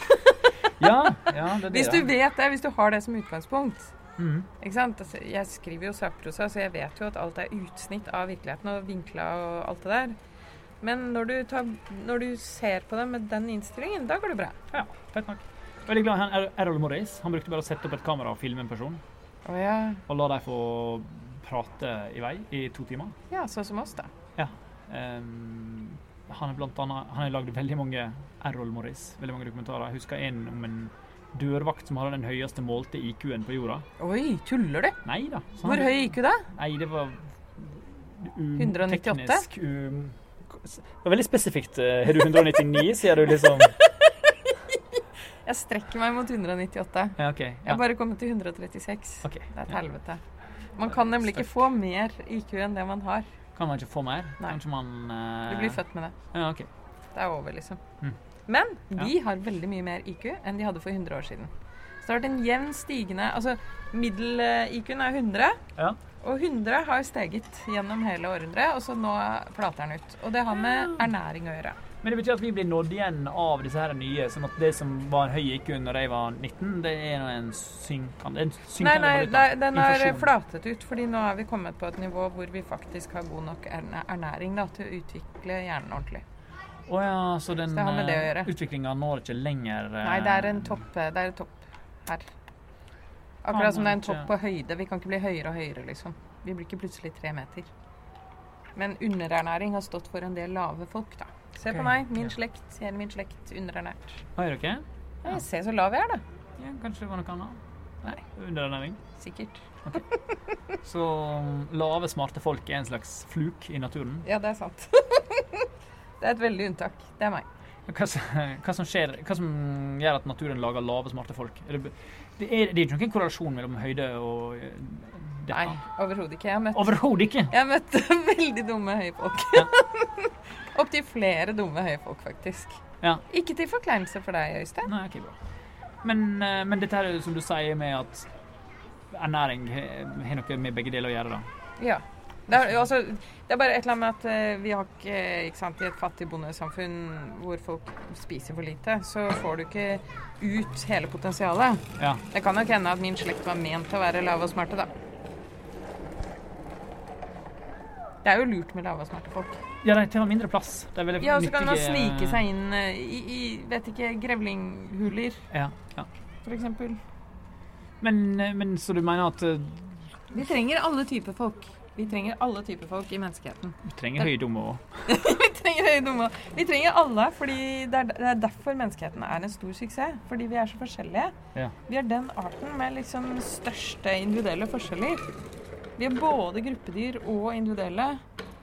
S1: Ja, ja, det er det.
S2: Hvis du vet det, hvis du har det som utgangspunkt.
S1: Mhm.
S2: Ikke sant? Altså, Jeg skriver jo sakprosa, så jeg vet jo at alt er utsnitt av virkeligheten og vinkla og alt det der. Men når du, tar, når du ser på det med den innstillingen, da går det bra.
S1: Fett nok. Veldig glad i han Er- Errol Morris. Han brukte bare å sette opp et kamera og filme en person,
S2: Å ja.
S1: og la dem få prate i vei i to timer.
S2: ja, sånn som oss, da.
S1: Ehm, han er blant annet Han har lagd veldig mange Errol Morris, veldig mange dokumentarer. Jeg husker en om en dørvakt som hadde den høyeste målte IQ-en på jorda.
S2: Oi, tuller du?
S1: Nei da. så han-
S2: Hvor høy gikk du da?
S1: Nei, det var um,
S2: 198?
S1: Teknisk, um, det var veldig spesifikt. eh, Har du 199, sier du liksom
S2: Jeg strekker meg mot 198.
S1: Ja, OK.
S2: Jeg
S1: Ja.
S2: har bare kommet til 136.
S1: Ok,
S2: Det er et
S1: ja.
S2: helvete. Man kan nemlig ikke få mer IQ enn det man har.
S1: Kan man ikke få mer?
S2: Nei.
S1: Kanskje man eh,
S2: Du blir født med det.
S1: Ja, OK.
S2: Det er over, liksom.
S1: Mm.
S2: Men de har veldig mye mer IQ enn de hadde for 100 år siden. Så det har vært en jevn stigende Altså, middel-IQ-en er 100.
S1: Ja.
S2: Og 100 har steget gjennom hele århundret, og så nå flater den ut. Og det har med ernæring å gjøre.
S1: Men det betyr at vi blir nådd igjen av disse her nye. Sånn at det som var en høy IQ når jeg var 19, det er nå en synkende, det er en
S2: Nei,
S1: synkende
S2: nei, nei, den har
S1: Inflasjon.
S2: flatet ut, fordi nå er vi kommet på et nivå hvor vi faktisk har god nok erne- ernæring da, til å utvikle hjernen ordentlig.
S1: Å ja, så den
S2: Så det har med det å gjøre.
S1: utviklinga når ikke lenger eh,
S2: Nei, det er en topp, det er en topp her. Akkurat som det er en topp på høyde. Vi kan ikke bli høyere og høyere, liksom. Vi blir ikke plutselig tre meter. Men underernæring har stått for en del lave folk, da. Se
S1: Ok,
S2: på meg, min
S1: ja.
S2: slekt, hele min slekt, underernært.
S1: Hva gjør dere?
S2: Ja, jeg ser så lav jeg er, da.
S1: Ja, kanskje det var noe annet? Nei, underernæring.
S2: Sikkert.
S1: Så um, lave, smarte folk er en slags fluk i naturen.
S2: Ja, det er sant. det er et veldig unntak. Det er meg.
S1: Hva, som- hva som skjer, hva som gjør at naturen lager lave, smarte folk? Er det, det, er, det er ikke noen korrelasjon mellom høyde og eh,
S2: Nei,
S1: dette.
S2: overhodet ikke. Jeg har møtt
S1: Overhodet ikke!
S2: Jeg møtte veldig dumme høyfolk. Opptil flere dumme høyfolk, faktisk.
S1: Ja.
S2: Ikke til forkleinelse for deg, Øystein.
S1: Nei, ok, bra. Men, eh, men dette her er jo som du sier med at ernæring har har noe med begge deler å gjøre, da.
S2: Ja. Det er, jo altså, det er bare et eller annet med at eh, vi har ikke, ikke sant, I et fattig bondesamfunn hvor folk spiser for lite, så får du ikke ut hele potensialet.
S1: Ja.
S2: Det kan nok hende at min slekt var ment til å være lave og smarte, da. Det er jo lurt med lave og smarte folk.
S1: Ja, de tar mindre plass. Det er veldig
S2: Ja, og så kan man
S1: nyttige-
S2: snike seg inn eh, i, i vet ikke, grevlinghuler,
S1: Ja, ja.
S2: f.eks.
S1: Men, eh, men så du mener at eh,
S2: Vi trenger alle typer folk. Vi trenger alle typer folk i menneskeheten.
S1: du trenger høy dumme òg?
S2: Vi trenger høye dumme. Vi trenger alle, fordi det er, det er derfor menneskeheten er en stor suksess. Fordi vi er så forskjellige.
S1: Ja.
S2: Vi er den arten med liksom største individuelle forskjeller. Vi er både gruppedyr og individuelle.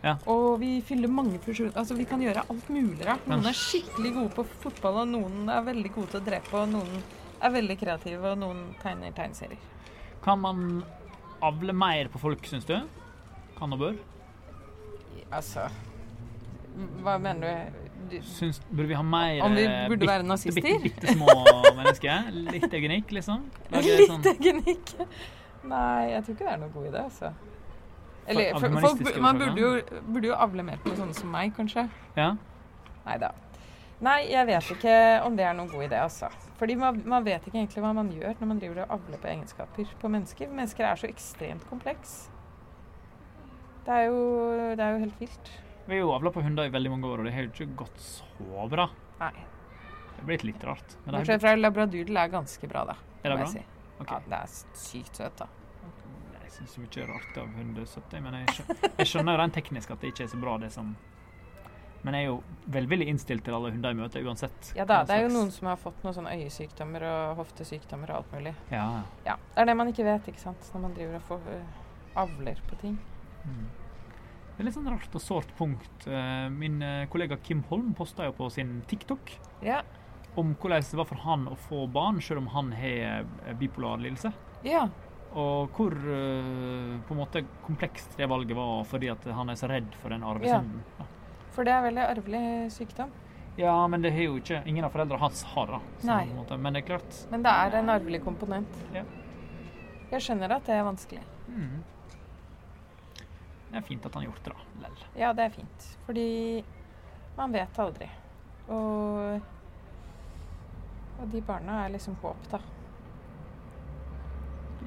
S1: Ja.
S2: Og vi fyller mange funksjoner. Altså, vi kan gjøre alt mulig rart.
S1: Men-
S2: Noen er skikkelig gode på fotball, og noen er veldig gode til å drepe, og noen er veldig kreative, og noen tegner tegneserier.
S1: Kan man avle mer på folk, syns du? Kan og bør?
S2: Altså Hva mener du? du
S1: Syns, burde vi ha mer
S2: Om vi
S1: eh,
S2: burde
S1: bitte-
S2: være nazister?
S1: Bitte, bitte små mennesker? Litt eugenikk, liksom? Lage sånn-
S2: Litt teknikk. Nei, jeg tror ikke det er noen god idé, altså. Eller,
S1: For-
S2: for, folk,
S1: humanistiske
S2: bu- man
S1: årsaker?
S2: burde jo, burde jo avle mer på sånne som meg, kanskje.
S1: Ja.
S2: Nei da. Nei, jeg vet ikke om det er noen god idé, altså. Fordi man, man vet ikke egentlig hva man gjør når man driver og avler på egenskaper på mennesker. Mennesker er så ekstremt kompleks. Det er jo, det er jo helt vilt.
S1: Vi har jo avla på hunder i veldig mange år, og det har jo ikke gått så bra.
S2: Nei.
S1: Det blir litt rart. Men det
S2: Bortsett fra labradudel er ganske bra, da.
S1: er, er det
S2: må
S1: bra?
S2: jeg si.
S1: Ok.
S2: Ja, det er sykt søt, da.
S1: Nei, Jeg syns mye er rart av 170, men jeg skjønner, jeg skjønner jo rent teknisk at det ikke er så bra, det som Men jeg er jo velvillig innstilt til alle hunder jeg møter, uansett.
S2: Ja da,
S1: hva
S2: det er jo
S1: slags-
S2: noen som har fått noen sånne øyesykdommer og hoftesykdommer og alt mulig.
S1: Ja.
S2: Ja, Det er det man ikke vet, ikke sant, når man driver og får øh, avler på ting.
S1: Mm. Det er litt sånn rart og sårt punkt. Eh, Min eh, kollega Kim Holm posta jo på sin TikTok
S2: Ja.
S1: om hvordan det var for han å få barn, selv om han har eh, bipolar lidelse.
S2: ja.
S1: Og hvor eh, på en måte komplekst det valget var fordi at han er så redd for den
S2: Ja.
S1: arvesynden. Ja.
S2: For det er veldig arvelig sykdom.
S1: ja, men det har jo ikke Ingen av foreldrene hans har det. så
S2: Nei.
S1: på en måte- Men det er klart
S2: Men det er en arvelig komponent.
S1: Ja.
S2: Jeg skjønner at det er vanskelig.
S1: Mm. Det er fint at han har gjort det, da. Lell.
S2: Ja, det er fint. Fordi man vet aldri. Og, og de barna er liksom håp, da.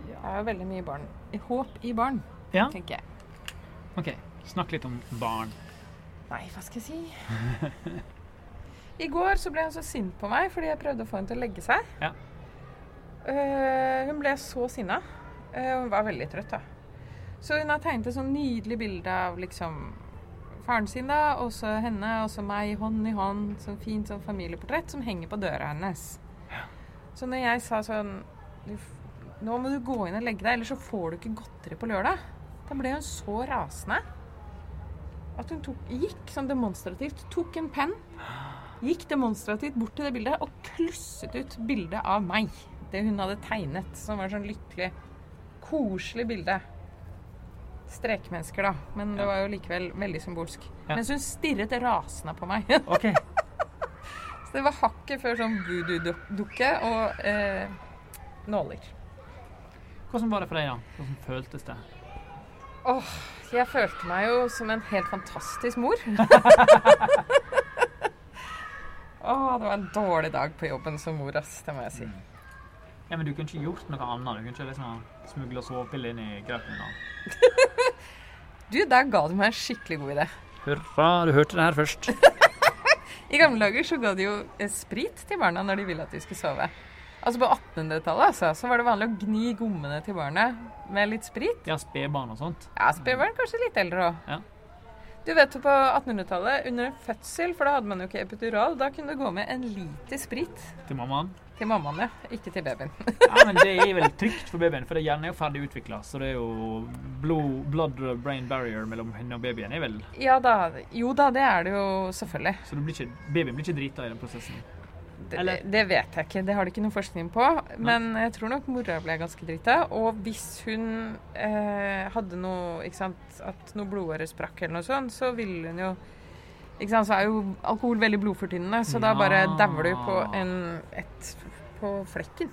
S2: Det er jo veldig mye barn. håp i barn,
S1: Ja.
S2: tenker jeg.
S1: OK. Snakk litt om barn.
S2: Nei, hva skal jeg si? I går så ble hun så sint på meg fordi jeg prøvde å få henne til å legge seg.
S1: Ja.
S2: Eh, hun ble så sinna. Eh, hun var veldig trøtt, da. Så hun har tegnet et sånn nydelig bilde av liksom faren sin, da, og så henne, og så meg hånd i hånd. Sånn fint sånn familieportrett som henger på døra hennes. Så når jeg sa sånn du, f- Nå må du gå inn og legge deg, ellers så får du ikke godteri på lørdag. Da ble hun så rasende at hun tok, gikk sånn demonstrativt, tok en penn, gikk demonstrativt bort til det bildet og klusset ut bildet av meg. Det hun hadde tegnet, som var sånn lykkelig, koselig bilde. Strekmennesker, da, men det
S1: Ja.
S2: var jo likevel veldig symbolsk.
S1: Ja.
S2: Mens hun stirret rasende på meg.
S1: OK.
S2: Så det var hakket før sånn voodoo-dukke og eh, nåler.
S1: Hvordan var det for deg, da? Hvordan føltes det?
S2: Åh, jeg følte meg jo som en helt fantastisk mor. Åh, det var en dårlig dag på jobben som mor, ass. Det må jeg si.
S1: Ja, men Du kunne ikke gjort noe annet? Du kunne ikke liksom smugla sovepiller inn i grøten? da.
S2: Du, der ga du meg en skikkelig god idé.
S3: Hurra, du hørte det her først.
S2: I gamle dager så ga de jo eh, sprit til barna når de ville at de skulle sove. Altså På 1800-tallet altså, så var det vanlig å gni gommene til barnet med litt sprit.
S1: Ja, spedbarn og sånt.
S2: Ja, spedbarn kanskje litt eldre òg.
S1: Ja.
S2: Du vet jo på 1800-tallet, under en fødsel, for da hadde man jo ikke epidural, da kunne det gå med en liter sprit
S1: Til mammaen.
S2: til mammaen, ja. Ikke til babyen.
S1: Ja, men Det er vel trygt for babyen, for det hjernen er jo ferdig utvikla. Så det er jo blod, blood brain barrier mellom henne og babyen. er vel...
S2: Ja da. Jo da, det er det jo selvfølgelig.
S1: Så du blir ikke, babyen blir ikke drita i den prosessen.
S2: Det,
S1: Eller-
S2: det vet jeg ikke. Det har de ikke noe forskning på. Men jeg tror nok mora ble ganske drita. Og hvis hun eh, hadde noe ikke sant, At noe blodåre sprakk eller noe sånt, så ville hun jo ikke sant, Så er jo alkohol veldig blodfortynnende, så da bare
S1: Ja.
S2: dauer du på en et, på flekken.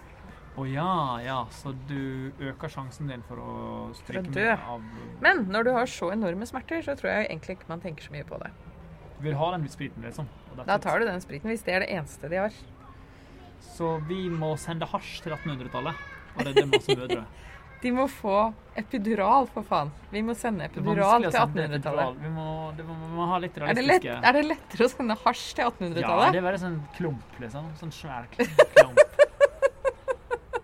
S1: Å ja, ja, så du øker sjansen din for å stryke
S2: For å
S1: med
S2: dø.
S1: av
S2: Men når du har så enorme smerter, så tror jeg egentlig ikke man tenker så mye på det.
S1: Du vil ha den spriten, liksom. og
S2: Da tar du den spriten, hvis det er det eneste de har.
S1: Så vi må sende hasj til 1800-tallet og redde masse mødre.
S2: De må få epidural, for faen. Vi må
S1: Det
S2: sende
S1: er
S2: epidural
S1: vanskelig å
S2: til
S1: sende epidural.
S2: 1800-tallet.
S1: Vi må, det må, vi må ha litt
S2: Er det,
S1: realistiske
S2: lett, er det lettere å sende hasj til
S1: Ja,
S2: 1800-tallet?
S1: det er bare sånn klump, liksom. Sånn svær klump. klump.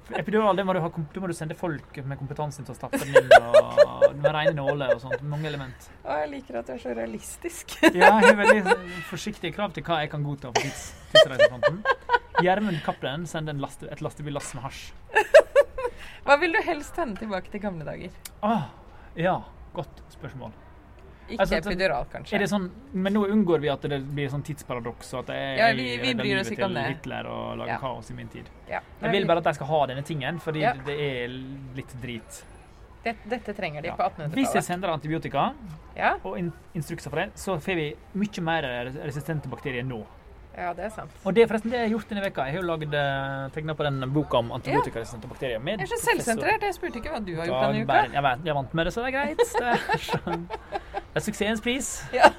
S1: For Epidural, det må du, ha, kom- da må du sende folk med kompetansen til å stappe den inn. Og, med rene nåler og sånt. Mange element.
S2: Å, jeg liker at du er så realistisk.
S1: Ja, jeg har veldig forsiktige krav til hva jeg kan godta på tids, tidsreisefronten. Gjermund Cappelen sender en laste, et lastebillass med hasj.
S2: Hva vil du helst sende tilbake til gamle dager?
S1: Ah, ja, godt spørsmål.
S2: Ikke
S1: Altså, det-
S2: epidural, kanskje.
S1: Er det sånn, men nå unngår vi at det blir sånn tidsparadoks, og at jeg
S2: Ja, vi- vi
S1: redder
S2: bryr oss
S1: livet
S2: ikke om
S1: til
S2: det.
S1: Hitler og lager
S2: Ja.
S1: kaos i min tid.
S2: Ja.
S1: Jeg vil bare at de skal ha denne tingen, fordi
S2: Ja.
S1: det er litt drit.
S2: Det, dette trenger de
S1: Ja.
S2: på
S1: Hvis jeg
S2: 1800-tallet.
S1: sender antibiotika
S2: Ja?
S1: og in instrukser for det, så får vi mye mer res- resistente bakterier nå.
S2: ja, det er sant.
S1: Og det er forresten det jeg har gjort denne veka. Jeg har jo lagd tegna på den boka om antibiotikaresistente bakterier. Med
S2: Jeg er så
S1: professor
S2: selvsentrert. Jeg spurte ikke hva du har gjort
S1: Dag
S2: denne uka.
S1: Berg. Jeg, vet, jeg er vant med det, så det er greit. Det er, sånn. det er suksessens pris.
S2: Ja.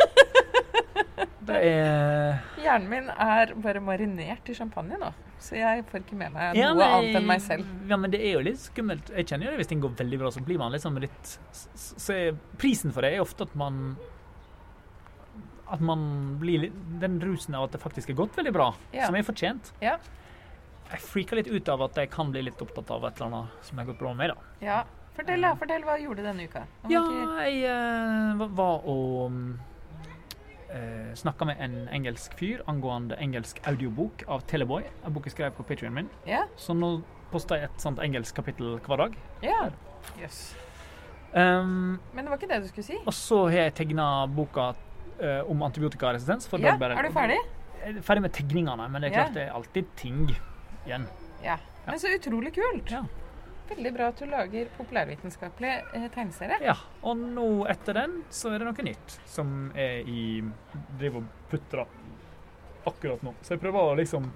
S1: Det er
S2: Hjernen min er bare marinert i champagne nå. Så jeg får ikke med meg
S1: Ja,
S2: noe
S1: men-
S2: annet enn meg selv.
S1: Ja, men det er jo litt skummelt. Jeg kjenner jo det hvis ting går veldig bra, så blir man liksom litt s- s- Så er- prisen for det er ofte at man At man blir litt Den rusen av at det faktisk har gått veldig bra,
S2: Ja.
S1: som er fortjent.
S2: Ja.
S1: Jeg freaker litt ut av at jeg kan bli litt opptatt av et eller annet som har gått bra med meg, da.
S2: Ja. Fortell, da. Fortell hva du gjorde denne uka. Om
S1: Ja,
S2: ikke-
S1: jeg eh, va- var og uh, snakka med en engelsk fyr angående engelsk audiobok av Teleboy. En bok jeg skrev på Patreon min.
S2: ja.
S1: Så nå poster jeg et sånt engelsk kapittel hver dag.
S2: ja. Yes.
S1: Um,
S2: Men det var ikke det du skulle si.
S1: og så har jeg tegna boka eh, om antibiotikaresistens. For
S2: Ja,
S1: Dag Berg.
S2: er du ferdig?
S1: Jeg er ferdig med tegningene, men det er
S2: Ja.
S1: klart det er alltid ting igjen.
S2: Ja. Men så utrolig kult.
S1: Ja.
S2: Veldig bra at du lager populærvitenskapelig eh, tegneserie.
S1: Ja, Og nå etter den så er det noe nytt som er i driver og putrer akkurat nå. Så jeg prøver å liksom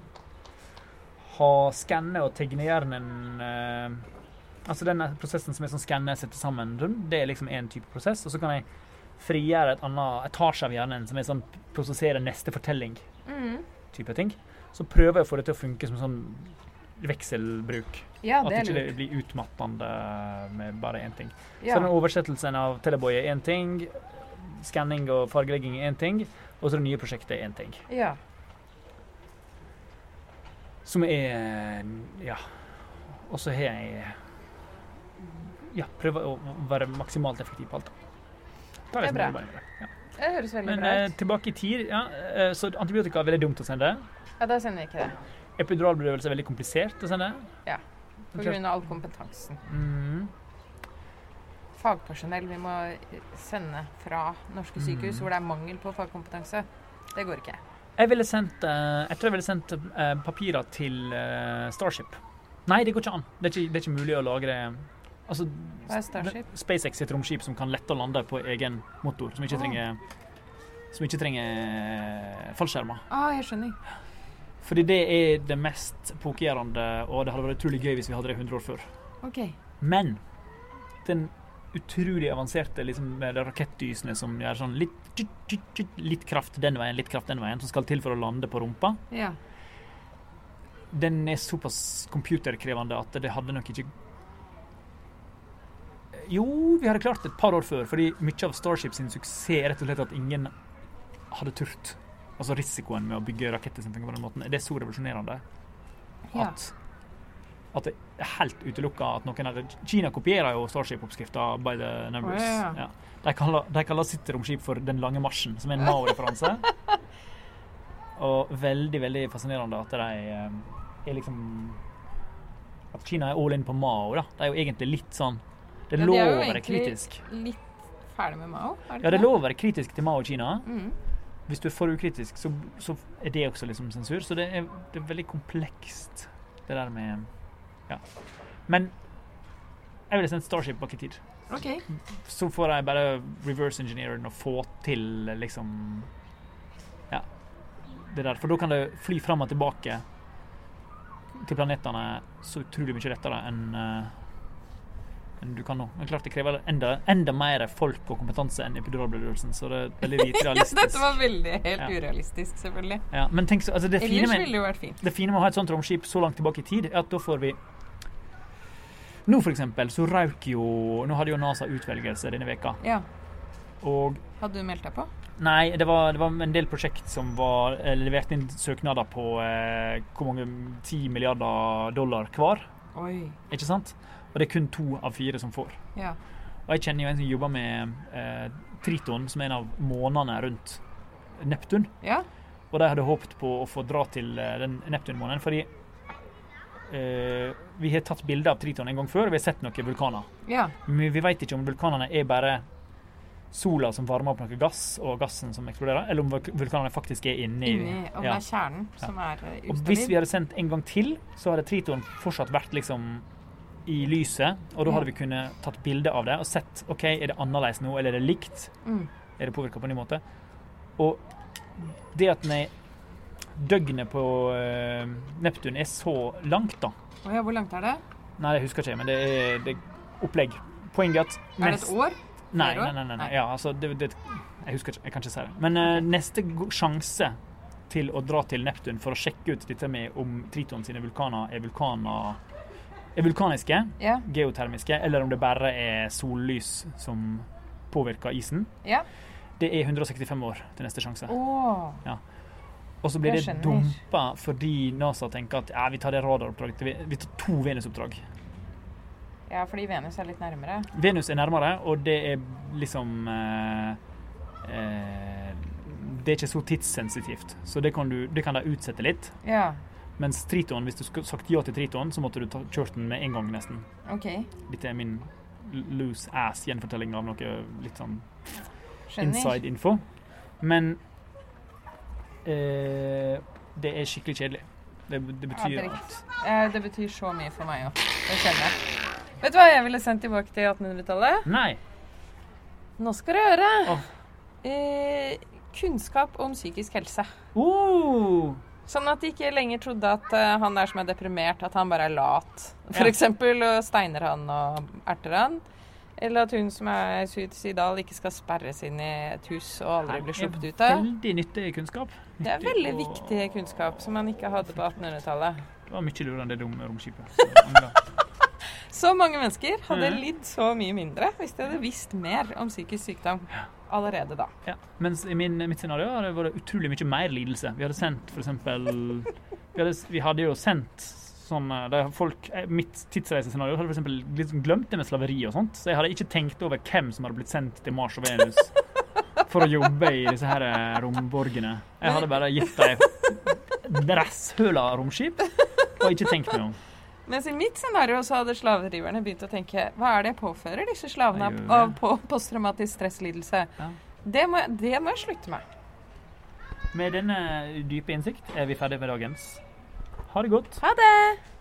S1: ha skanne og tegne hjernen eh, Altså den prosessen som er sånn skanne, sette sammen, det er liksom én type prosess. Og så kan jeg frigjøre et annet etasje av hjernen som er sånn prosessere neste fortelling-type
S2: Mm.
S1: ting. Så prøver jeg å få det til å funke som sånn vekselbruk.
S2: Ja,
S1: At
S2: det er
S1: ikke det
S2: lurt.
S1: blir utmattende med bare én ting. Så
S2: Ja.
S1: den oversettelsen av Teleboy er én ting, skanning og fargelegging er én ting, og så det nye prosjektet er én ting.
S2: ja.
S1: Som er Ja. Og så har jeg Ja, prøver å være maksimalt effektiv på alt. da. Tar
S2: Det er
S1: som
S2: bra.
S1: jobber med det. Ja.
S2: Det høres veldig
S1: Men
S2: bra
S1: eh,
S2: ut.
S1: tilbake i tid. Ja, eh, så antibiotika er veldig dumt å sende.
S2: Ja, da sender jeg ikke det.
S1: Epiduralbedøvelse er veldig komplisert å sende.
S2: Ja, På grunn av all kompetansen.
S1: Mm.
S2: Fagpersonell vi må eh, sende fra norske
S1: Mm.
S2: sykehus hvor det er mangel på fagkompetanse. Det går ikke.
S1: Jeg ville sendt eh, Jeg tror jeg ville sendt eh, papirer til eh, Starship. Nei, det går ikke an. Det er ikke, det er ikke mulig å lagre Altså
S2: Hva er Starship?
S1: SpaceX sitt romskip som kan lette og lande på egen motor, som ikke
S2: Ah.
S1: trenger Som ikke trenger fallskjermer.
S2: Ah, jeg skjønner.
S1: Fordi det er det mest epokegjørende, og det hadde vært utrolig gøy hvis vi hadde det 100 år før.
S2: Ok.
S1: Men den utrolig avanserte liksom, med de rakettdysene som gjør sånn litt, tjut, tjut, tjut, litt kraft den veien, litt kraft den veien, som skal til for å lande på rumpa,
S2: Ja.
S1: den er såpass computerkrevende at det hadde nok ikke Jo, vi hadde klart det et par år før, fordi mye av Starship sin suksess er rett og slett at ingen hadde turt. Altså risikoen med å bygge raketter som fungerer på den måten, det er så revolusjonerende
S2: ja.
S1: at, at det er helt utelukka at noen hadde Kina kopierer jo Starship-oppskrifta by the numbers.
S2: Å, ja.
S1: Ja. De kaller, de kaller sitt romskip for Den lange marsjen, som er en Mao-referanse. Og veldig, veldig fascinerende at de eh, er liksom At Kina er all in på Mao, da. De er jo egentlig litt sånn Det er
S2: Ja, de er
S1: lov
S2: jo
S1: å være
S2: egentlig-
S1: kritisk.
S2: Litt ferdig med Mao?
S1: Ja,
S2: Er
S1: det
S2: ikke
S1: er lov å være kritisk til Mao og Kina.
S2: Mm.
S1: Hvis du er for ukritisk, så, så er det også liksom sensur. Så det er, det er veldig komplekst, det der med Ja. Men jeg ville sendt Starship bak i tid.
S2: Ok.
S1: Så får jeg bare reverse engineeren og få til liksom Ja. Det der. For da kan det fly fram og tilbake til planetene så utrolig mye lettere enn eh, enn du kan nå. Men klart det krever enda, enda mer folk og kompetanse enn epiduralbedøvelsen, så det er veldig lite
S2: Ja,
S1: realistisk.
S2: dette var veldig helt
S1: Ja.
S2: urealistisk, selvfølgelig.
S1: Ja, men tenk så, altså det, fine
S2: Ellers
S1: med,
S2: ville det jo vært fint.
S1: det fine med å ha et sånt romskip så langt tilbake i tid, er at da får vi Nå, for eksempel, så røyk jo Nå hadde jo NASA utvelgelse denne veka,
S2: Ja.
S1: og
S2: Hadde du meldt deg på?
S1: Nei, det var, det var en del prosjekt som var eh, levert inn søknader på eh, hvor mange 10 milliarder dollar hver,
S2: Oi.
S1: ikke sant? Og det er kun to av fire som får.
S2: Ja.
S1: Og jeg kjenner jo en som jobber med eh, Triton, som er en av månene rundt Neptun.
S2: Ja.
S1: Og de hadde håpet på å få dra til eh, den Neptun-måneden, fordi eh, vi har tatt bilder av Triton en gang før, og vi har sett noen vulkaner.
S2: Ja.
S1: Men vi vet ikke om vulkanene er bare sola som varmer opp noe gass, og gassen som eksploderer, eller om vul- vulkanene faktisk er inni,
S2: Inni Om det
S1: ja.
S2: er kjernen som er eh,
S1: Og hvis vi
S2: ustabil?
S1: hadde sendt en gang til, så hadde Triton fortsatt vært liksom i lyset, og da hadde vi kunnet tatt bilde av det og sett OK, er det annerledes nå, eller er det likt?
S2: Mm.
S1: er det påvirka på en ny måte. Og det at den er døgnet på eh, Neptun er så langt, da
S2: Å ja, hvor langt er det?
S1: Nei, jeg husker ikke, men det er, det er opplegg. Poenget er at
S2: Er det et år?
S1: nei,
S2: flere
S1: nei,
S2: år?
S1: nei, nei, nei.
S2: Nei.
S1: Ja, altså, det, det, jeg husker ikke, jeg kan ikke si det. Men eh, neste go- sjanse til å dra til Neptun for å sjekke ut dette med om Triton sine vulkaner er vulkaner er vulkaniske,
S2: Ja.
S1: geotermiske, eller om det bare er sollys som påvirker isen,
S2: Ja.
S1: det er 165 år til neste sjanse.
S2: Å.
S1: Og så blir
S2: Jeg
S1: det
S2: skjønner.
S1: dumpa fordi NASA tenker at ja, vi tar det radaroppdraget til Ve- Vi tar to Venus-oppdrag.
S2: Ja, fordi Venus er litt nærmere.
S1: Venus er nærmere, og det er liksom eh, eh, Det er ikke så tidssensitivt, så det kan, du, det kan de utsette litt.
S2: Ja.
S1: Mens Triton, hvis du skulle sagt ja til Triton, så måtte du ta- kjørt den med en gang, nesten.
S2: OK.
S1: Dette er min l- loose ass gjenfortelling av noe litt sånn
S2: Skjønner.
S1: inside info. Men eh, det er skikkelig kjedelig. Det, det betyr
S2: det er
S1: at
S2: Eh, det betyr så mye for meg òg. Det kjenner jeg. Vet du hva jeg ville sendt tilbake til 1800-tallet?
S1: Nei.
S2: Nå skal du høre.
S1: Åh.
S2: Eh, kunnskap om psykisk helse.
S1: Oh,
S2: Sånn at de ikke lenger trodde at eh, han der som er deprimert, at han bare er lat.
S1: Ja.
S2: For eksempel, og steiner han og erter han. Eller at hun som er suicidal, ikke skal sperres inn i et hus og aldri blir sluppet ut av.
S1: Veldig nyttig kunnskap.
S2: Det er
S1: Nyttig
S2: veldig
S1: og-
S2: viktig kunnskap som man ikke hadde på 1800-tallet.
S1: Det var mye lurere enn det dumme romskipet. Så jeg angrer.
S2: Så mange mennesker hadde
S1: Mhm.
S2: lidd så mye mindre hvis de hadde visst mer om psykisk sykdom allerede da.
S1: Ja. Mens i min, mitt scenario har det vært utrolig mye mer lidelse. Vi hadde sendt for eksempel vi hadde, vi hadde jo sendt sånn eh, der folk, eh, Mitt tidsreisescenario hadde for eksempel liksom glemt det med slaveri og sånt. Så jeg hadde ikke tenkt over hvem som hadde blitt sendt til Mars og Venus for å jobbe i disse her eh, romborgene. Jeg hadde bare gitt dem rasshøla romskip og ikke tenkt meg om.
S2: Mens i mitt scenario så hadde slavedriverne begynt å tenke Hva er det jeg påfører disse slavene
S1: Nei,
S2: av-
S1: jo, ja.
S2: av på posttraumatisk stresslidelse?
S1: Ja.
S2: Det, må, jeg- det må jeg slutte med.
S1: Med denne dype innsikt er vi ferdig med dagens. Ha det godt.
S2: Ha det!